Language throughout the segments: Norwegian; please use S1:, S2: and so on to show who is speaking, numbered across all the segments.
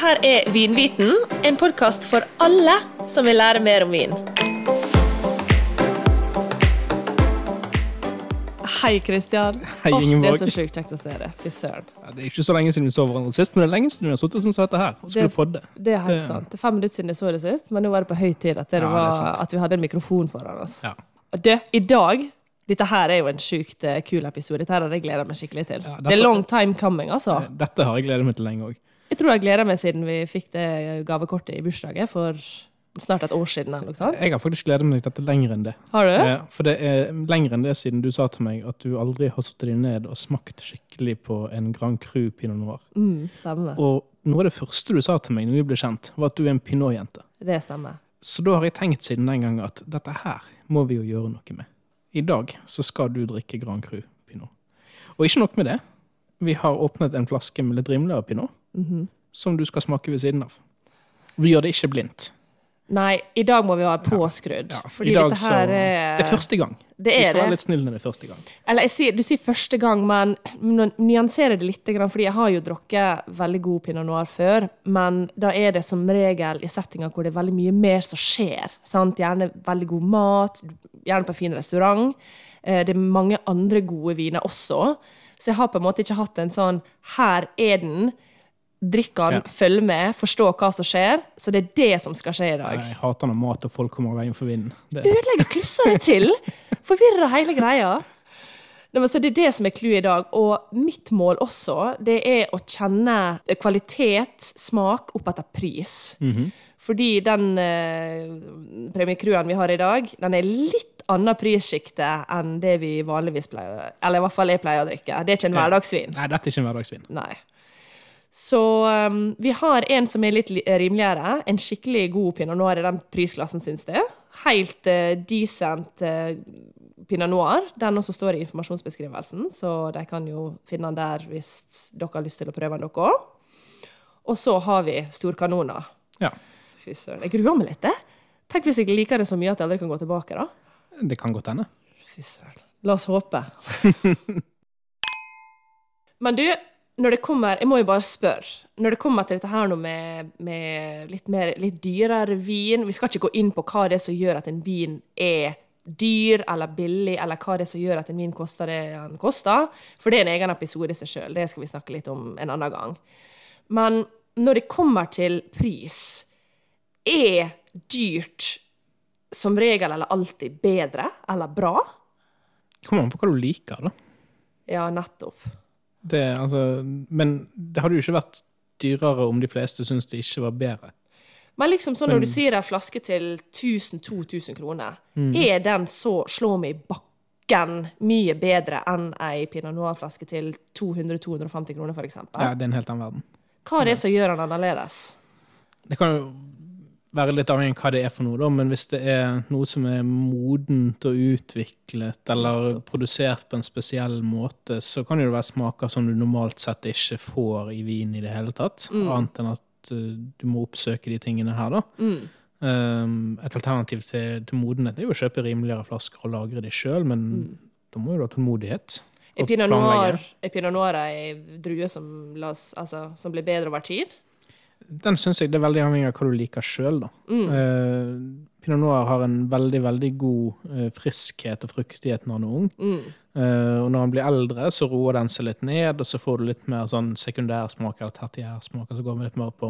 S1: her er Vinviten, en podkast for alle som vil lære mer om vin.
S2: Hei, Kristian.
S3: Hei,
S2: Åh, det er
S3: Ingeborg.
S2: så sjukt kjekt å se deg. Fy søren.
S3: Ja, det er ikke så lenge siden vi så hverandre sist, men det er lenge siden vi har sittet sånn som dette her. Og skulle
S2: Det-
S3: podde.
S2: Det er helt
S3: Det-
S2: sant. Det er fem minutter siden jeg så det sist, men nå var det på høy tid at, det
S3: Ja, det er
S2: var,
S3: sant.
S2: at vi hadde en mikrofon foran oss.
S3: Ja.
S2: Og det, i dag Dette her er jo en sjukt eh, kul episode. Dette her har jeg gleda meg skikkelig til.
S3: Ja,
S2: Det er
S3: dette-
S2: long time coming, altså.
S3: Eh, Dette har jeg gledet meg til lenge òg.
S2: Jeg tror jeg gleder meg siden vi fikk det gavekortet i bursdagen for snart et år siden. Eller noe sånt.
S3: Jeg har faktisk gledet meg til dette lenger enn det.
S2: Har du?
S3: Eh, For det er lenger enn det siden du sa til meg at du aldri har satt deg ned og smakt skikkelig på en Grand Cru Pinot Noir.
S2: Mm, stemmer.
S3: Og noe av det første du sa til meg når vi ble kjent, var at du er en Pinot-jente.
S2: Det stemmer.
S3: Så da har jeg tenkt siden den gang at dette her må vi jo gjøre noe med. I dag så skal du drikke Grand Cru Pinot. Og ikke nok med det. Vi har åpnet en flaske med litt rimligere pinot,
S2: Mhm.
S3: som du skal smake ved siden av. Vi gjør det ikke blindt.
S2: Nei, i dag må vi være påskrudd.
S3: I
S2: fordi
S3: dag
S2: dette
S3: så
S2: her er
S3: Det er første gang.
S2: Det
S3: vi
S2: er
S3: skal være
S2: det.
S3: litt snille når det er første gang.
S2: Eller jeg sier, du sier første gang, men nå nyanserer det litt, fordi jeg har jo drukket veldig god pinot noir før, men da er det som regel i settinger hvor det er veldig mye mer som skjer. Sant? Gjerne veldig god mat, gjerne på en fin restaurant. Eh, Det er mange andre gode viner også. Så jeg har på en måte ikke hatt en sånn 'her er den', drikk den,
S3: Ja.
S2: følg med, forstå hva som skjer. Så det er det som skal skje i dag.
S3: Jeg hater når mat og folk kommer veien for vinden. Det,
S2: ødelegger klusser det til. Forvirrer hele greia. Nei, men så Det er det som er clouet i dag. Og mitt mål også, det er å kjenne kvalitet, smak, opp etter pris. Fordi den eh, premiekruen vi har i dag, den er litt annet prissjikte enn det vi vanligvis pleier Eller i hvert fall jeg pleier å drikke. Det er ikke en hverdagsvin.
S3: nei, dette er ikke en hverdagsvin.
S2: Nei. Så um, vi har en som er litt li- rimeligere. En skikkelig god pinot noir i den prisklassen, syns jeg. Helt eh, decent eh, pinot noir. Den også står i informasjonsbeskrivelsen, så de kan jo finne den der hvis dere har lyst til å prøve den, dere òg. Og så har vi storkanoner.
S3: Ja,
S2: Fy søren, jeg gruer meg litt, jeg. Tenk hvis jeg liker det så mye at jeg aldri kan gå tilbake, da.
S3: det kan godt hende.
S2: Fy søren. La oss håpe. Men du, når det kommer Jeg må jo bare spørre. Når det kommer til dette her nå med, med litt, mer, litt dyrere vin Vi skal ikke gå inn på hva det er som gjør at en vin er dyr eller billig, eller hva det er som gjør at en vin koster det den koster, for det er en egen episode i seg sjøl. Det skal vi snakke litt om en annen gang. Men når det kommer til pris, er dyrt som regel eller alltid bedre eller bra?
S3: Kommer an på hva du liker, da.
S2: Ja, nettopp.
S3: Det, altså, men det hadde jo ikke vært dyrere om de fleste syntes det ikke var bedre.
S2: Men liksom sånn
S3: Mm.
S2: når du sier en flaske til 1000-2000 kroner,
S3: Mm.
S2: er den så slå meg i bakken mye bedre enn ei Pinot Noir-flaske til 200-250 kroner, for
S3: Ja,
S2: eksempel?
S3: det er en helt annen verden.
S2: Hva er det som gjør den annerledes?
S3: Det kan jo være litt avhengig av hva det er for noe, da, men hvis det er noe som er modent og utviklet, eller produsert på en spesiell måte, så kan det jo være smaker som du normalt sett ikke får i vin i det hele tatt,
S2: Mm.
S3: annet enn at eh, du må oppsøke de tingene her, da.
S2: Mm.
S3: Um, et alternativ til, til modenhet er jo å kjøpe rimeligere flasker og lagre de sjøl, men da må jo du ha tålmodighet.
S2: Er Mm.
S3: og
S2: Pinot
S3: planlegge.
S2: Noir, er Pinot Noir ei drue som, la oss- altså, som blir bedre over tid?
S3: Den syns jeg det er veldig avhengig av hva du liker sjøl, da. Eh, Pinot noir har en veldig, veldig god eh, friskhet og fruktighet når han er ung.
S2: Mm,
S3: Eh, og når han blir eldre, så roer den seg litt ned, og så får du litt mer sånn sekundærsmaker eller tertiærsmaker. Så går vi litt mer på,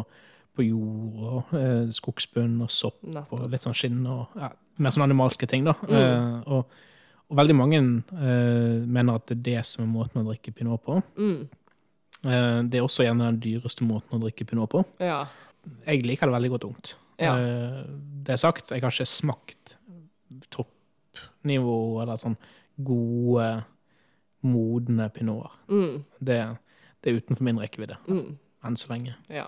S3: på jord og eh, skogsbunn og sopp
S2: Nettopp.
S3: og litt sånn skinn og ja, mer sånn animalske ting, da. Eh, og, og veldig mange eh, mener at det er det som er måten å drikke pinot på.
S2: Mm,
S3: Eh, det er også gjerne den dyreste måten å drikke pinot på
S2: Ja.
S3: jeg liker det veldig godt ungt.
S2: Ja.
S3: Eh, Det er sagt, jeg har ikke smakt toppnivå eller sånn gode, modne pinoter.
S2: Mm,
S3: Det, det er utenfor min rekkevidde enn så lenge.
S2: ja.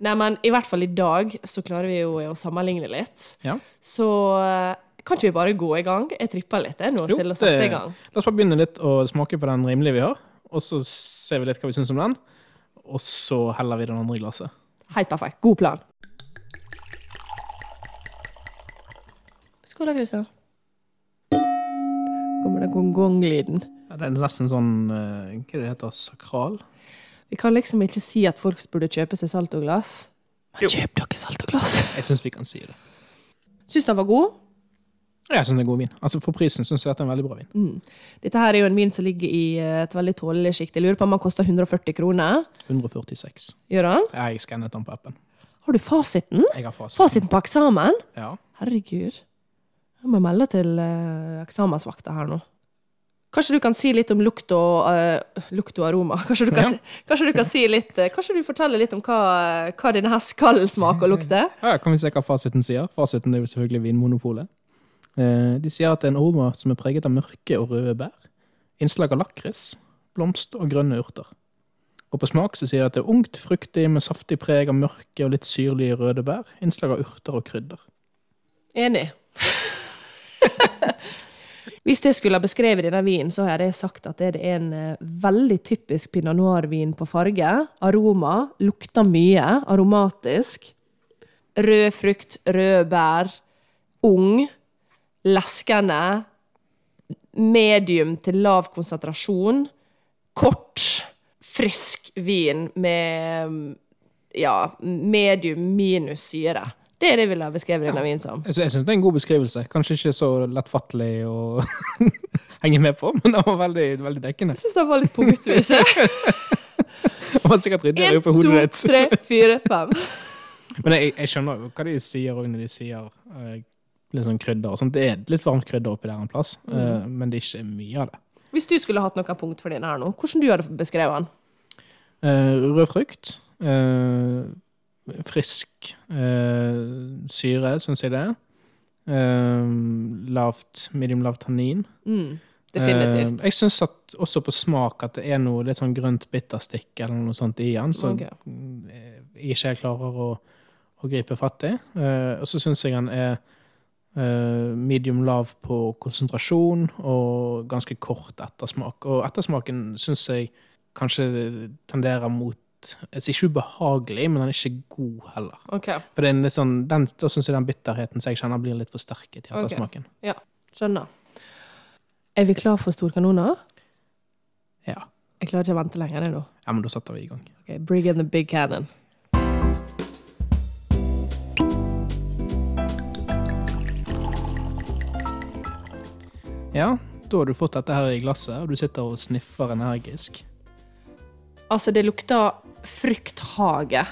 S2: Nei, men i hvert fall i dag så klarer vi jo å sammenligne litt.
S3: Ja.
S2: Så eh, kan ikke vi bare gå i gang? Jeg tripper litt jeg, nå
S3: Jo,
S2: til å
S3: det-
S2: sette i gang.
S3: La oss bare begynne litt å smake på den rimelige vi har, og så ser vi litt hva vi syns om den. Og så heller vi den andre i glasset.
S2: Helt perfekt. God plan. Skål da, Kristian. Kommer den gong-gong-lyden.
S3: Ja, det er nesten sånn eh, Hva er det det heter? Sakral?
S2: Vi kan liksom ikke si at folk burde kjøpe seg saltoglass. Men kjøp dere saltoglass!
S3: Jeg syns vi kan si det.
S2: Syns den var god.
S3: Jeg syns det er god vin. Altså For prisen syns jeg at det er en veldig bra vin.
S2: Dette her er jo en vin som ligger i eh, et veldig tålelig sjikt. Jeg lurer på om den koster 140 kroner.
S3: 146.
S2: Gjør den?
S3: Jeg skannet den på appen.
S2: Har du fasiten?
S3: Jeg har fasit.
S2: Fasiten på eksamen?
S3: Ja.
S2: Herregud. Jeg må melde til eh, eksamensvakta her nå. Kanskje du kan si litt om lukt og, eh, lukt og aroma? Kanskje du, kan,
S3: Ja.
S2: si, kanskje du kan si litt eh, Kanskje du forteller litt om hva, eh, hva denne her skal smake og lukte?
S3: Ja, kan vi se hva fasiten sier? Fasiten er jo selvfølgelig Vinmonopolet. Eh, De sier at det er en aroma som er preget av mørke og røde bær, innslag av lakris, blomst og grønne urter. Og på smak så sier de at det er ungt, fruktig med saftig preg av mørke og litt syrlige røde bær, innslag av urter og krydder.
S2: Enig. Hvis jeg skulle ha beskrevet denne vinen, så hadde jeg sagt at det er en eh, veldig typisk pinot noir-vin på farge. Aroma. Lukter mye. Aromatisk. Rød frukt, røde bær. Ung. Leskende. Medium til lav konsentrasjon. Kort. Frisk vin med mm, ja, medium minus syre. Det er det jeg ville ha beskrevet denne vinen som.
S3: Jeg sy- jeg syns det er en god beskrivelse. Kanskje ikke så lettfattelig å henge med på, men det var veldig, veldig dekkende.
S2: Jeg syns den var litt punktvis.
S3: Det var sikkert ryddigere
S2: Én,
S3: på hodet
S2: to,
S3: ditt.
S2: tre, fire, fem.
S3: Men jeg, jeg skjønner jo hva de sier også når de sier eh, litt sånn krydder og sånt. Det er litt varmt krydder oppi der en plass,
S2: Mm.
S3: eh, men det er ikke mye av det.
S2: Hvis du skulle hatt noen punkt for din her nå, hvordan du hadde beskrevet den?
S3: Eh, rød frukt. eh, frisk eh, syre, syns jeg det er. Eh, lavt, medium lavt tannin.
S2: Mm, definitivt.
S3: Eh, jeg syns at også på smak at det er noe litt sånn grønt bitterstikk eller noe sånt i den, som
S2: Ok.
S3: jeg ikke helt klarer å, å gripe fatt i. Eh, og så syns jeg den er eh, medium lav på konsentrasjon og ganske kort ettersmak. Og ettersmaken syns jeg kanskje tenderer mot Jeg sier ikke ubehagelig, men den er ikke god heller.
S2: Ok,
S3: For det er en litt sånn, den, Da syns jeg den bitterheten som jeg kjenner, blir litt forsterket i
S2: Ok.
S3: ettersmaken.
S2: ja. Skjønner. Er vi klar for storkanoner?
S3: Ja.
S2: Jeg klarer ikke å vente lenger jeg nå.
S3: ja, men da setter vi i gang.
S2: Ok, Bring in the big cannon.
S3: Ja, da har du fått dette her i glasset, og du sitter og sniffer energisk.
S2: Altså, det lukter frukthage.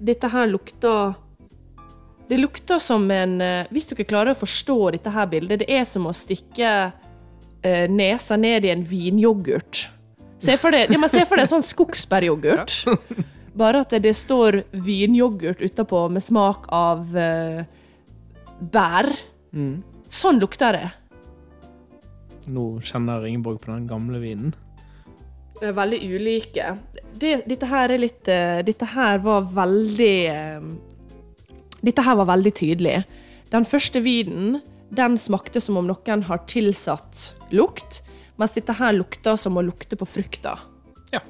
S2: Dette her lukter Det lukter som en eh, Hvis dere klarer å forstå dette her bildet, det er som å stikke eh, nesa ned i en vinyoghurt. Se for deg ja, men se for deg en sånn skogsbæryoghurt. Bare at det, det står vinyoghurt utapå med smak av eh, bær. Sånn lukter det.
S3: Nå kjenner Ingeborg på den gamle vinen.
S2: Det er eh, veldig ulike. Det, dette her er litt eh, Dette her var veldig eh, Dette her var veldig tydelig. Den første vinen, den smakte som om noen har tilsatt lukt, mens dette her lukta som å lukte på frukta.
S3: Ja.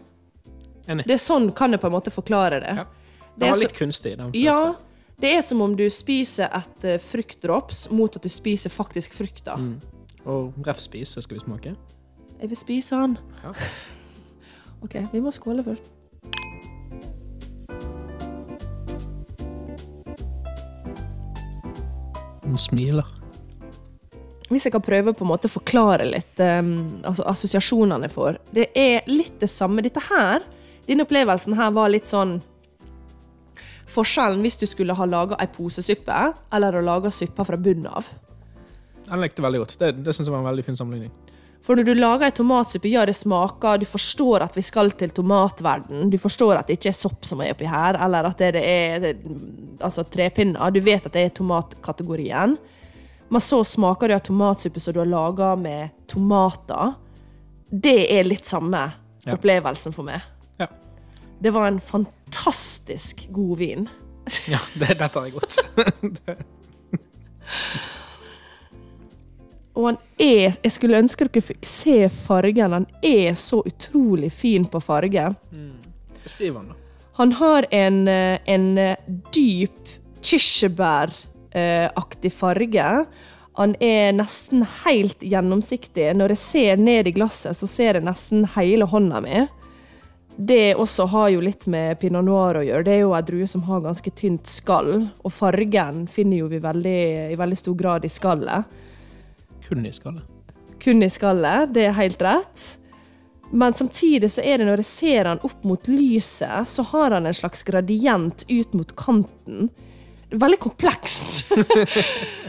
S3: Enig.
S2: Det er sånn kan jeg på en måte forklare det.
S3: Ja.
S2: Det
S3: Den
S2: er
S3: var
S2: så-
S3: litt kunstig, den første.
S2: Ja, det er som om du spiser et eh, fruktdrops mot at du spiser faktisk frukta.
S3: Mm. Og ref spise skal vi smake.
S2: Jeg vil spise den.
S3: Ja.
S2: OK, vi må skåle først.
S3: Hun smiler.
S2: hvis jeg kan prøve på en måte å forklare litt um, altså assosiasjonene jeg får Det er litt det samme. Dette her, denne opplevelsen her var litt sånn Forskjellen hvis du skulle ha laga ei posesuppe, eller å lage suppa fra bunnen av.
S3: Den likte jeg veldig godt. Det, det synes jeg var en veldig fin sammenligning.
S2: For når du lager ei tomatsuppe, ja, det smaker, du forstår at vi skal til tomatverden, du forstår at det ikke er sopp som er oppi her, eller at det, det er det, altså, trepinner, du vet at det er tomatkategorien. Men så smaker det av tomatsuppe som du har laga med tomater. Det er litt samme
S3: Ja.
S2: opplevelsen for meg.
S3: Ja.
S2: Det var en fantastisk god vin.
S3: ja det, dette er godt.
S2: Og han er Jeg skulle ønske dere fikk se fargen. Han er så utrolig fin på farge.
S3: Beskriv den, da.
S2: Han har en, eh, en eh, dyp kirsebæraktig farge. Han er nesten helt gjennomsiktig. Når jeg ser ned i glasset, så ser jeg nesten hele hånda mi. Det også har jo litt med pinot noir å gjøre. Det er jo ei drue som har ganske tynt skall, og fargen finner jo vi veldig, i veldig stor grad i skallet.
S3: Kun i skallet.
S2: Kun i skallet, det er helt rett. Men samtidig så er det når jeg ser han opp mot lyset, så har han en slags gradient ut mot kanten. Veldig komplekst.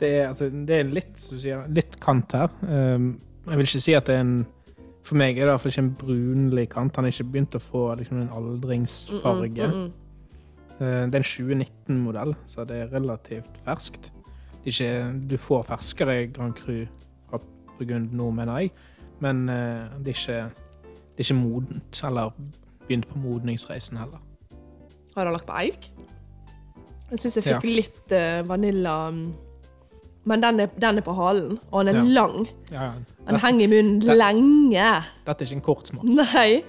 S3: Det er, altså, det er litt, som du sier, litt kant her. Um, jeg vil ikke si at det er en For meg er det i hvert fall ikke en brunlig kant. Han har ikke begynt å få liksom, en
S2: Mm,
S3: aldringsfarge. Uh, det er en 2019-modell, så det er relativt ferskt. Det er ikke, du får ferskere Grand Cru fra Burgund nå, mener jeg, men uh, det, er ikke, det er ikke modent. Eller begynt på modningsreisen heller.
S2: Har han lagt på eik? Jeg syns jeg fikk litt eh, vanilla Men den er, den er på halen, og den er
S3: Ja.
S2: lang.
S3: Ja,
S2: Den
S3: dette,
S2: henger i munnen
S3: det-
S2: lenge.
S3: dette er ikke en kort smak.
S2: Nei.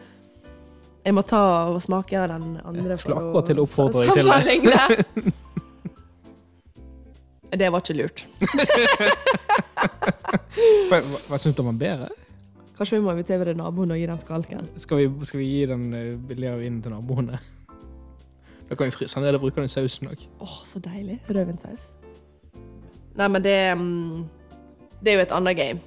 S2: Jeg må ta og smake av den andre.
S3: Jeg
S2: for
S3: skulle
S2: å
S3: akkurat til å oppfordre deg til det.
S2: sammenligne. Det var ikke lurt.
S3: Hva, hva, hva syns du om den bedre?
S2: Kanskje vi må invitere ved naboen og gi dem skalken.
S3: Skal vi, skal vi gi den eh, billigere vinen til naboene? Da kan vi fryse den ned og bruke den i sausen òg.
S2: Åh, så deilig. Rødvinsaus. Nei, men det mm, Det er jo et annet game.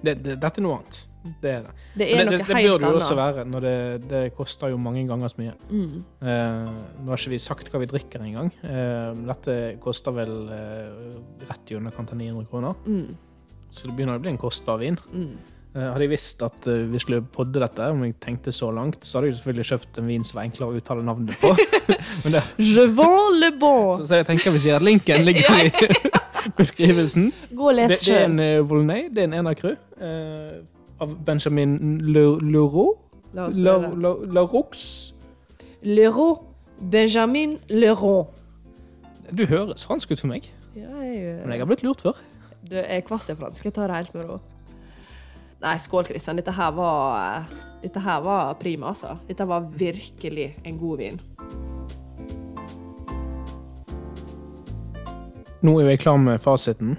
S3: Det, det, dette er noe annet. Det er det.
S2: Det er
S3: Men det,
S2: noe
S3: det, det bør
S2: helt
S3: det jo også
S2: annet.
S3: være, når det, det koster jo mange ganger så mye.
S2: Mm.
S3: Eh, nå har ikke vi sagt hva vi drikker engang. Eh, dette koster vel eh, rett i underkant av 900 kroner.
S2: Mm.
S3: Så det begynner å bli en kostbar vin.
S2: Mm.
S3: Eh, hadde jeg visst at eh, vi skulle podde dette, om jeg tenkte så langt, så hadde jeg jo selvfølgelig kjøpt en vin som var enklere å uttale navnet på. Men det,
S2: Je vends le bon.
S3: så, så jeg tenker vi sier at linken ligger i beskrivelsen.
S2: Gå og
S3: Det,
S2: les
S3: det er
S2: sjøl.
S3: en uh, Volnay, det er en Enacru uh, av Benjamin Leroux.
S2: La oss prøve.
S3: Laroux.
S2: Leroux. Benjamin Leroux.
S3: Du høres fransk ut for meg,
S2: Ja, jeg,
S3: men jeg har blitt lurt før.
S2: Du er kvass i fransk. Jeg tar det helt med ro. Nei, skål, Kristian. Dette her var Dette her var prima, altså. Dette var virkelig en god vin.
S3: Nå er jo jeg klar med fasiten.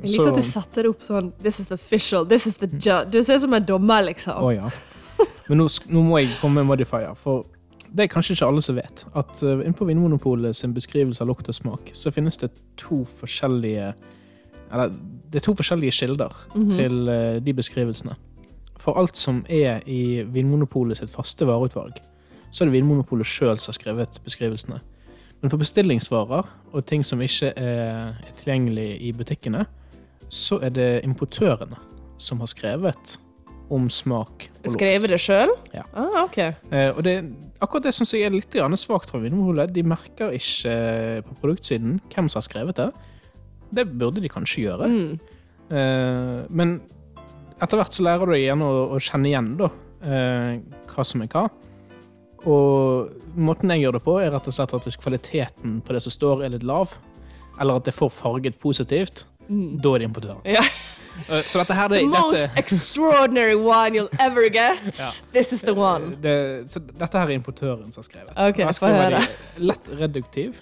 S2: Jeg liker at du satte det opp sånn This is official. This is the judge. Du ser ut som en dommer, liksom.
S3: Å ja. Men nå, sk- nå må jeg komme med modifier, for det er kanskje ikke alle som vet at eh, innenpå Vinmonopolet sin beskrivelse av lukt og smak, så finnes det to forskjellige Eller det er to forskjellige kilder til eh, de beskrivelsene. For alt som er i Vinmonopolet sitt faste vareutvalg, så er det Vinmonopolet sjøl som har skrevet beskrivelsene. Men for bestillingsvarer og ting som ikke er er tilgjengelig i butikkene, så er det importørene som har skrevet om smak og lukt.
S2: Skrev det sjøl?
S3: Ja.
S2: Ah, OK.
S3: Eh, og det, akkurat det syns jeg er litt grann svakt fra Vinmonopolet. De merker ikke eh, på produktsiden hvem som har skrevet det. Det burde de kanskje gjøre.
S2: Mm.
S3: Eh, men etter hvert så lærer du deg igjen å, å kjenne igjen da, eh, hva som er hva. Og måten jeg gjør det på, er rett og slett at hvis kvaliteten på det som står, er litt lav, eller at det får farget positivt, da er det importøren.
S2: Ja.
S3: Eh, så Mm. dette her det,
S2: The most
S3: dette,
S2: extraordinary wine you'll ever get. This is the one.
S3: det, så dette her er importøren som har skrevet.
S2: Ok,
S3: Her
S2: få
S3: skriver
S2: høre.
S3: de lett reduktiv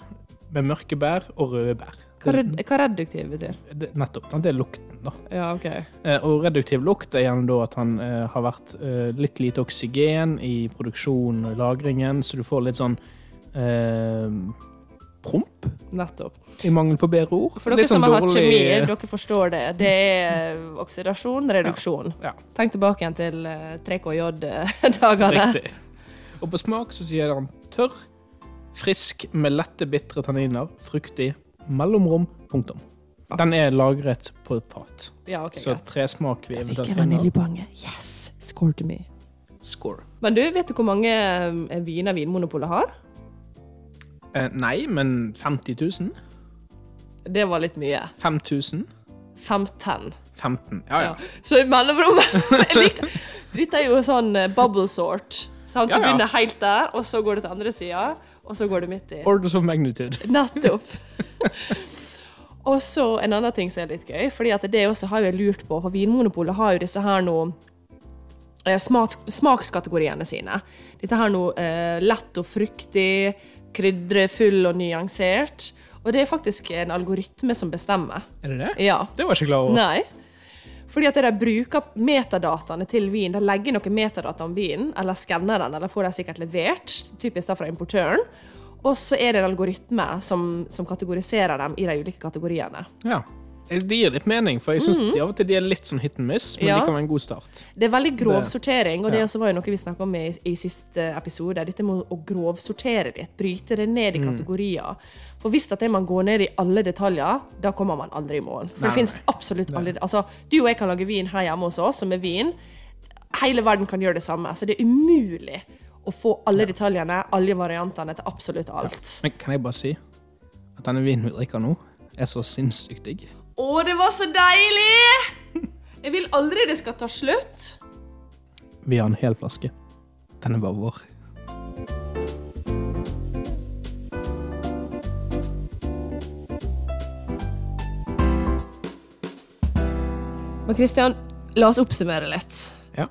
S3: med mørke bær og røde bær.
S2: Hva, red hva reduktiv betyr?
S3: Det- Nettopp. sant? Det er lukten, da.
S2: Ja, OK.
S3: Eh, Og reduktiv lukt er gjerne da at han eh, har vært eh, litt lite oksygen i produksjonen og i lagringen, så du får litt sånn eh, promp,
S2: Nettopp.
S3: i mangel på bedre ord.
S2: For dere
S3: Litt sånn
S2: som har hatt
S3: dårlig-
S2: kjemi, eh, dere forstår det. Det er oksidasjon, reduksjon.
S3: Ja.
S2: Tenk tilbake igjen til eh, 3KJ-dagene.
S3: Riktig. Og på smak så sier han tørr, frisk med lette, bitre tanniner, fruktig, mellomrom, punktum. Den er lagret på et fat.
S2: Ja, ok,
S3: Så
S2: greit.
S3: tresmak vi eventuelt
S2: Ikke
S3: finner.
S2: vaniljebange. Yes! Score to me.
S3: Score.
S2: Men du, vet du hvor mange eh, viner Vinmonopolet har?
S3: Eh, nei, men 50 000?
S2: Det var litt mye.
S3: 5000?
S2: 15.
S3: 15. Ja, ja.
S2: Så i mellomrommet jeg liker- Dette er jo sånn eh, bubble sort. Sant? Du
S3: Ja, ja.
S2: begynner helt der, og så går du til andre sida, og så går du midt i.
S3: Orders of magnitude.
S2: Nettopp. Og så en annen ting som er litt gøy, fordi at det også har jeg lurt på, for Vinmonopolet har jo disse her nå eh, smak, smakskategoriene sine. Dette her nå eh, lett og fruktig, krydderfull og nyansert. Og det er faktisk en algoritme som bestemmer.
S3: Er det det?
S2: Ja.
S3: Det var jeg ikke klar over.
S2: Nei. Fordi at de bruker metadataene til vin. De legger noe metadata om vinen, eller skanner den, eller får de sikkert levert, typisk da fra importøren. Og så er det en algoritme som, som kategoriserer dem i de ulike kategoriene.
S3: Ja. Det gir litt mening, for jeg syns de av og til de er litt sånn hit and miss, men
S2: Mm. Ja.
S3: det kan være en god start.
S2: Det er veldig grov
S3: Det-
S2: sortering, og det
S3: ja.
S2: også var jo noe vi snakka om i, i siste episode. Dette med å- å grovsortere litt, bryte det ned
S3: Mm.
S2: i kategorier. For hvis at det man går ned i alle detaljer, da kommer man aldri i mål. For
S3: Nei,
S2: det finnes
S3: nei.
S2: absolutt alle Altså, du og jeg kan lage vin her hjemme hos oss, som er vin. Hele verden kan gjøre det samme, så det er umulig å få alle detaljene, alle variantene til absolutt alt.
S3: Men kan jeg bare si at denne vinen vi drikker nå, er så sinnssykt digg.
S2: Å, det var så deilig! Jeg vil aldri det skal ta slutt.
S3: Vi har en hel flaske. Den er bare vår.
S2: Men Christian, la oss oppsummere litt.
S3: Ja.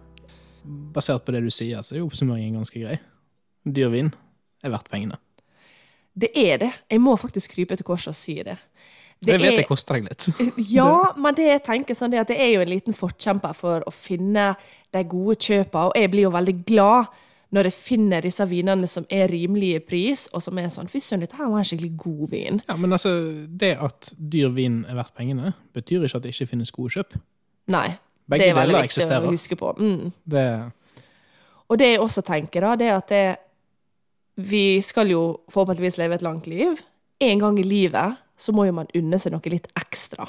S3: Basert på det du sier, så er jo oppsummeringen ganske grei. Dyr vin er verdt pengene.
S2: Det er det. Jeg må faktisk krype til korset og si det.
S3: Det, vet
S2: er-
S3: jeg koster deg litt.
S2: Ja, men det jeg tenker sånn det er at jeg er jo en liten forkjemper for å finne de gode kjøpene, og jeg blir jo veldig glad når jeg finner disse vinene som er rimelige i pris, og som er sånn Fy søren, dette her var en skikkelig god vin.
S3: Ja, men altså, det at dyr vin er verdt pengene, betyr ikke at det ikke finnes gode kjøp.
S2: Nei.
S3: Begge
S2: det er veldig
S3: deler
S2: viktig
S3: eksisterer.
S2: å huske på. Mm.
S3: Det,
S2: Og det jeg også tenker, da, det er at det, vi skal jo forhåpentligvis leve et langt liv. En gang i livet så må jo man unne seg noe litt ekstra.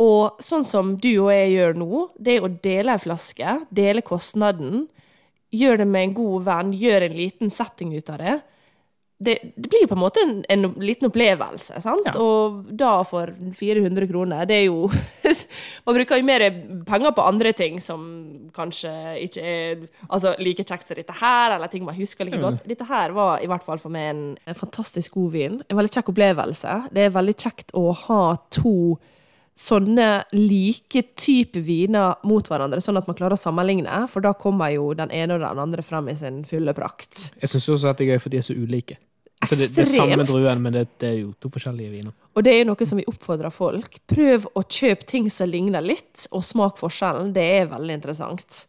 S2: Og sånn som du og jeg gjør nå, det å dele ei flaske, dele kostnaden, gjøre det med en god venn, gjøre en liten setting ut av det, det, det blir jo på en måte en, en liten opplevelse, sant?
S3: Ja.
S2: Og da for 400 kroner, det er jo Man bruker jo mer penger på andre ting som kanskje ikke er altså, like kjekt som dette her, eller ting man husker like godt. Dette her var i hvert fall for meg en, en fantastisk god vin. En veldig kjekk opplevelse. Det er veldig kjekt å ha to sånne like type viner mot hverandre, sånn at man klarer å sammenligne, for da kommer jo den ene og den andre frem i sin fulle prakt.
S3: jeg syns også at det er gøy, for de er så ulike. Altså, det, det er samme
S2: Ekstremt.
S3: druen, men det, det er jo to forskjellige viner.
S2: Og det er jo noe som vi oppfordrer folk. Prøv å kjøpe ting som ligner litt, og smak forskjellen. Det er veldig interessant.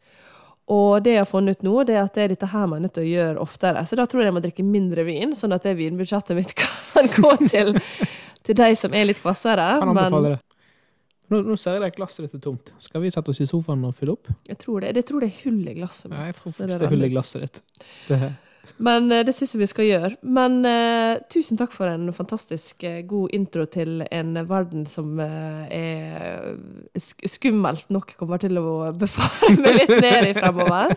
S2: Og det jeg har funnet ut nå, det er at det er dette her man er nødt til å gjøre oftere. Så da tror jeg jeg må drikke mindre vin, sånn at det vinbudsjettet mitt kan gå til, til de som er litt kvassere.
S3: Kan
S2: Men
S3: anbefale det. Nå, nå ser jeg det glasset ditt er tomt. Skal vi sette oss i sofaen og fylle opp?
S2: jeg tror det, jeg tror det er hull i glasset mitt.
S3: Nei, jeg tror
S2: Så det
S3: faktisk det er hull i
S2: renner ut.
S3: glasset ditt. Det er
S2: Men eh, det syns jeg vi skal gjøre. Men eh, tusen takk for en fantastisk eh, god intro til en verden som eh, er sk skummelt nok kommer til å befare meg litt mer i fremover.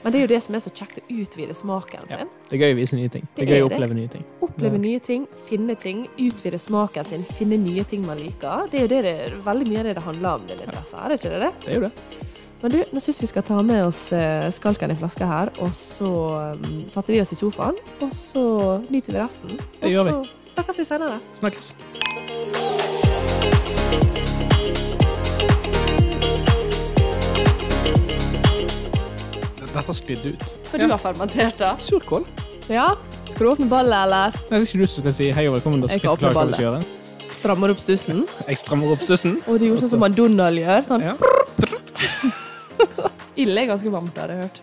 S2: Men det er jo det som er så kjekt, å utvide smaken sin.
S3: Det er gøy å vise nye ting.
S2: Det
S3: Det er gøy
S2: er
S3: å
S2: det.
S3: oppleve nye ting.
S2: Oppleve nye ting, finne ting, utvide smaken sin, finne nye ting man liker. Det er jo det det, veldig mye av det det handler om, din interesse, er det ikke det?
S3: Det er jo det.
S2: Men du, nå syns vi skal ta med oss eh, skalken i flaska her, og så mm, setter vi oss i sofaen, og så nyter vi resten.
S3: Det gjør vi.
S2: Og så snakkes vi senere.
S3: Snakkes. Dette sklidde ut.
S2: For du har fermentert det.
S3: Surkål.
S2: Ja. Skal du åpne ballet, eller?
S3: Det er ikke du som skal si hei og velkommen. Da
S2: Jeg
S3: skal
S2: kan
S3: jeg
S2: åpne
S3: forklare hva du skal gjøre.
S2: Strammer opp stussen.
S3: Jeg strammer opp sussen.
S2: Og du gjorde sånn som han Donald gjør. Sånn.
S3: Ja.
S2: Ille er ganske varmt, har jeg hørt.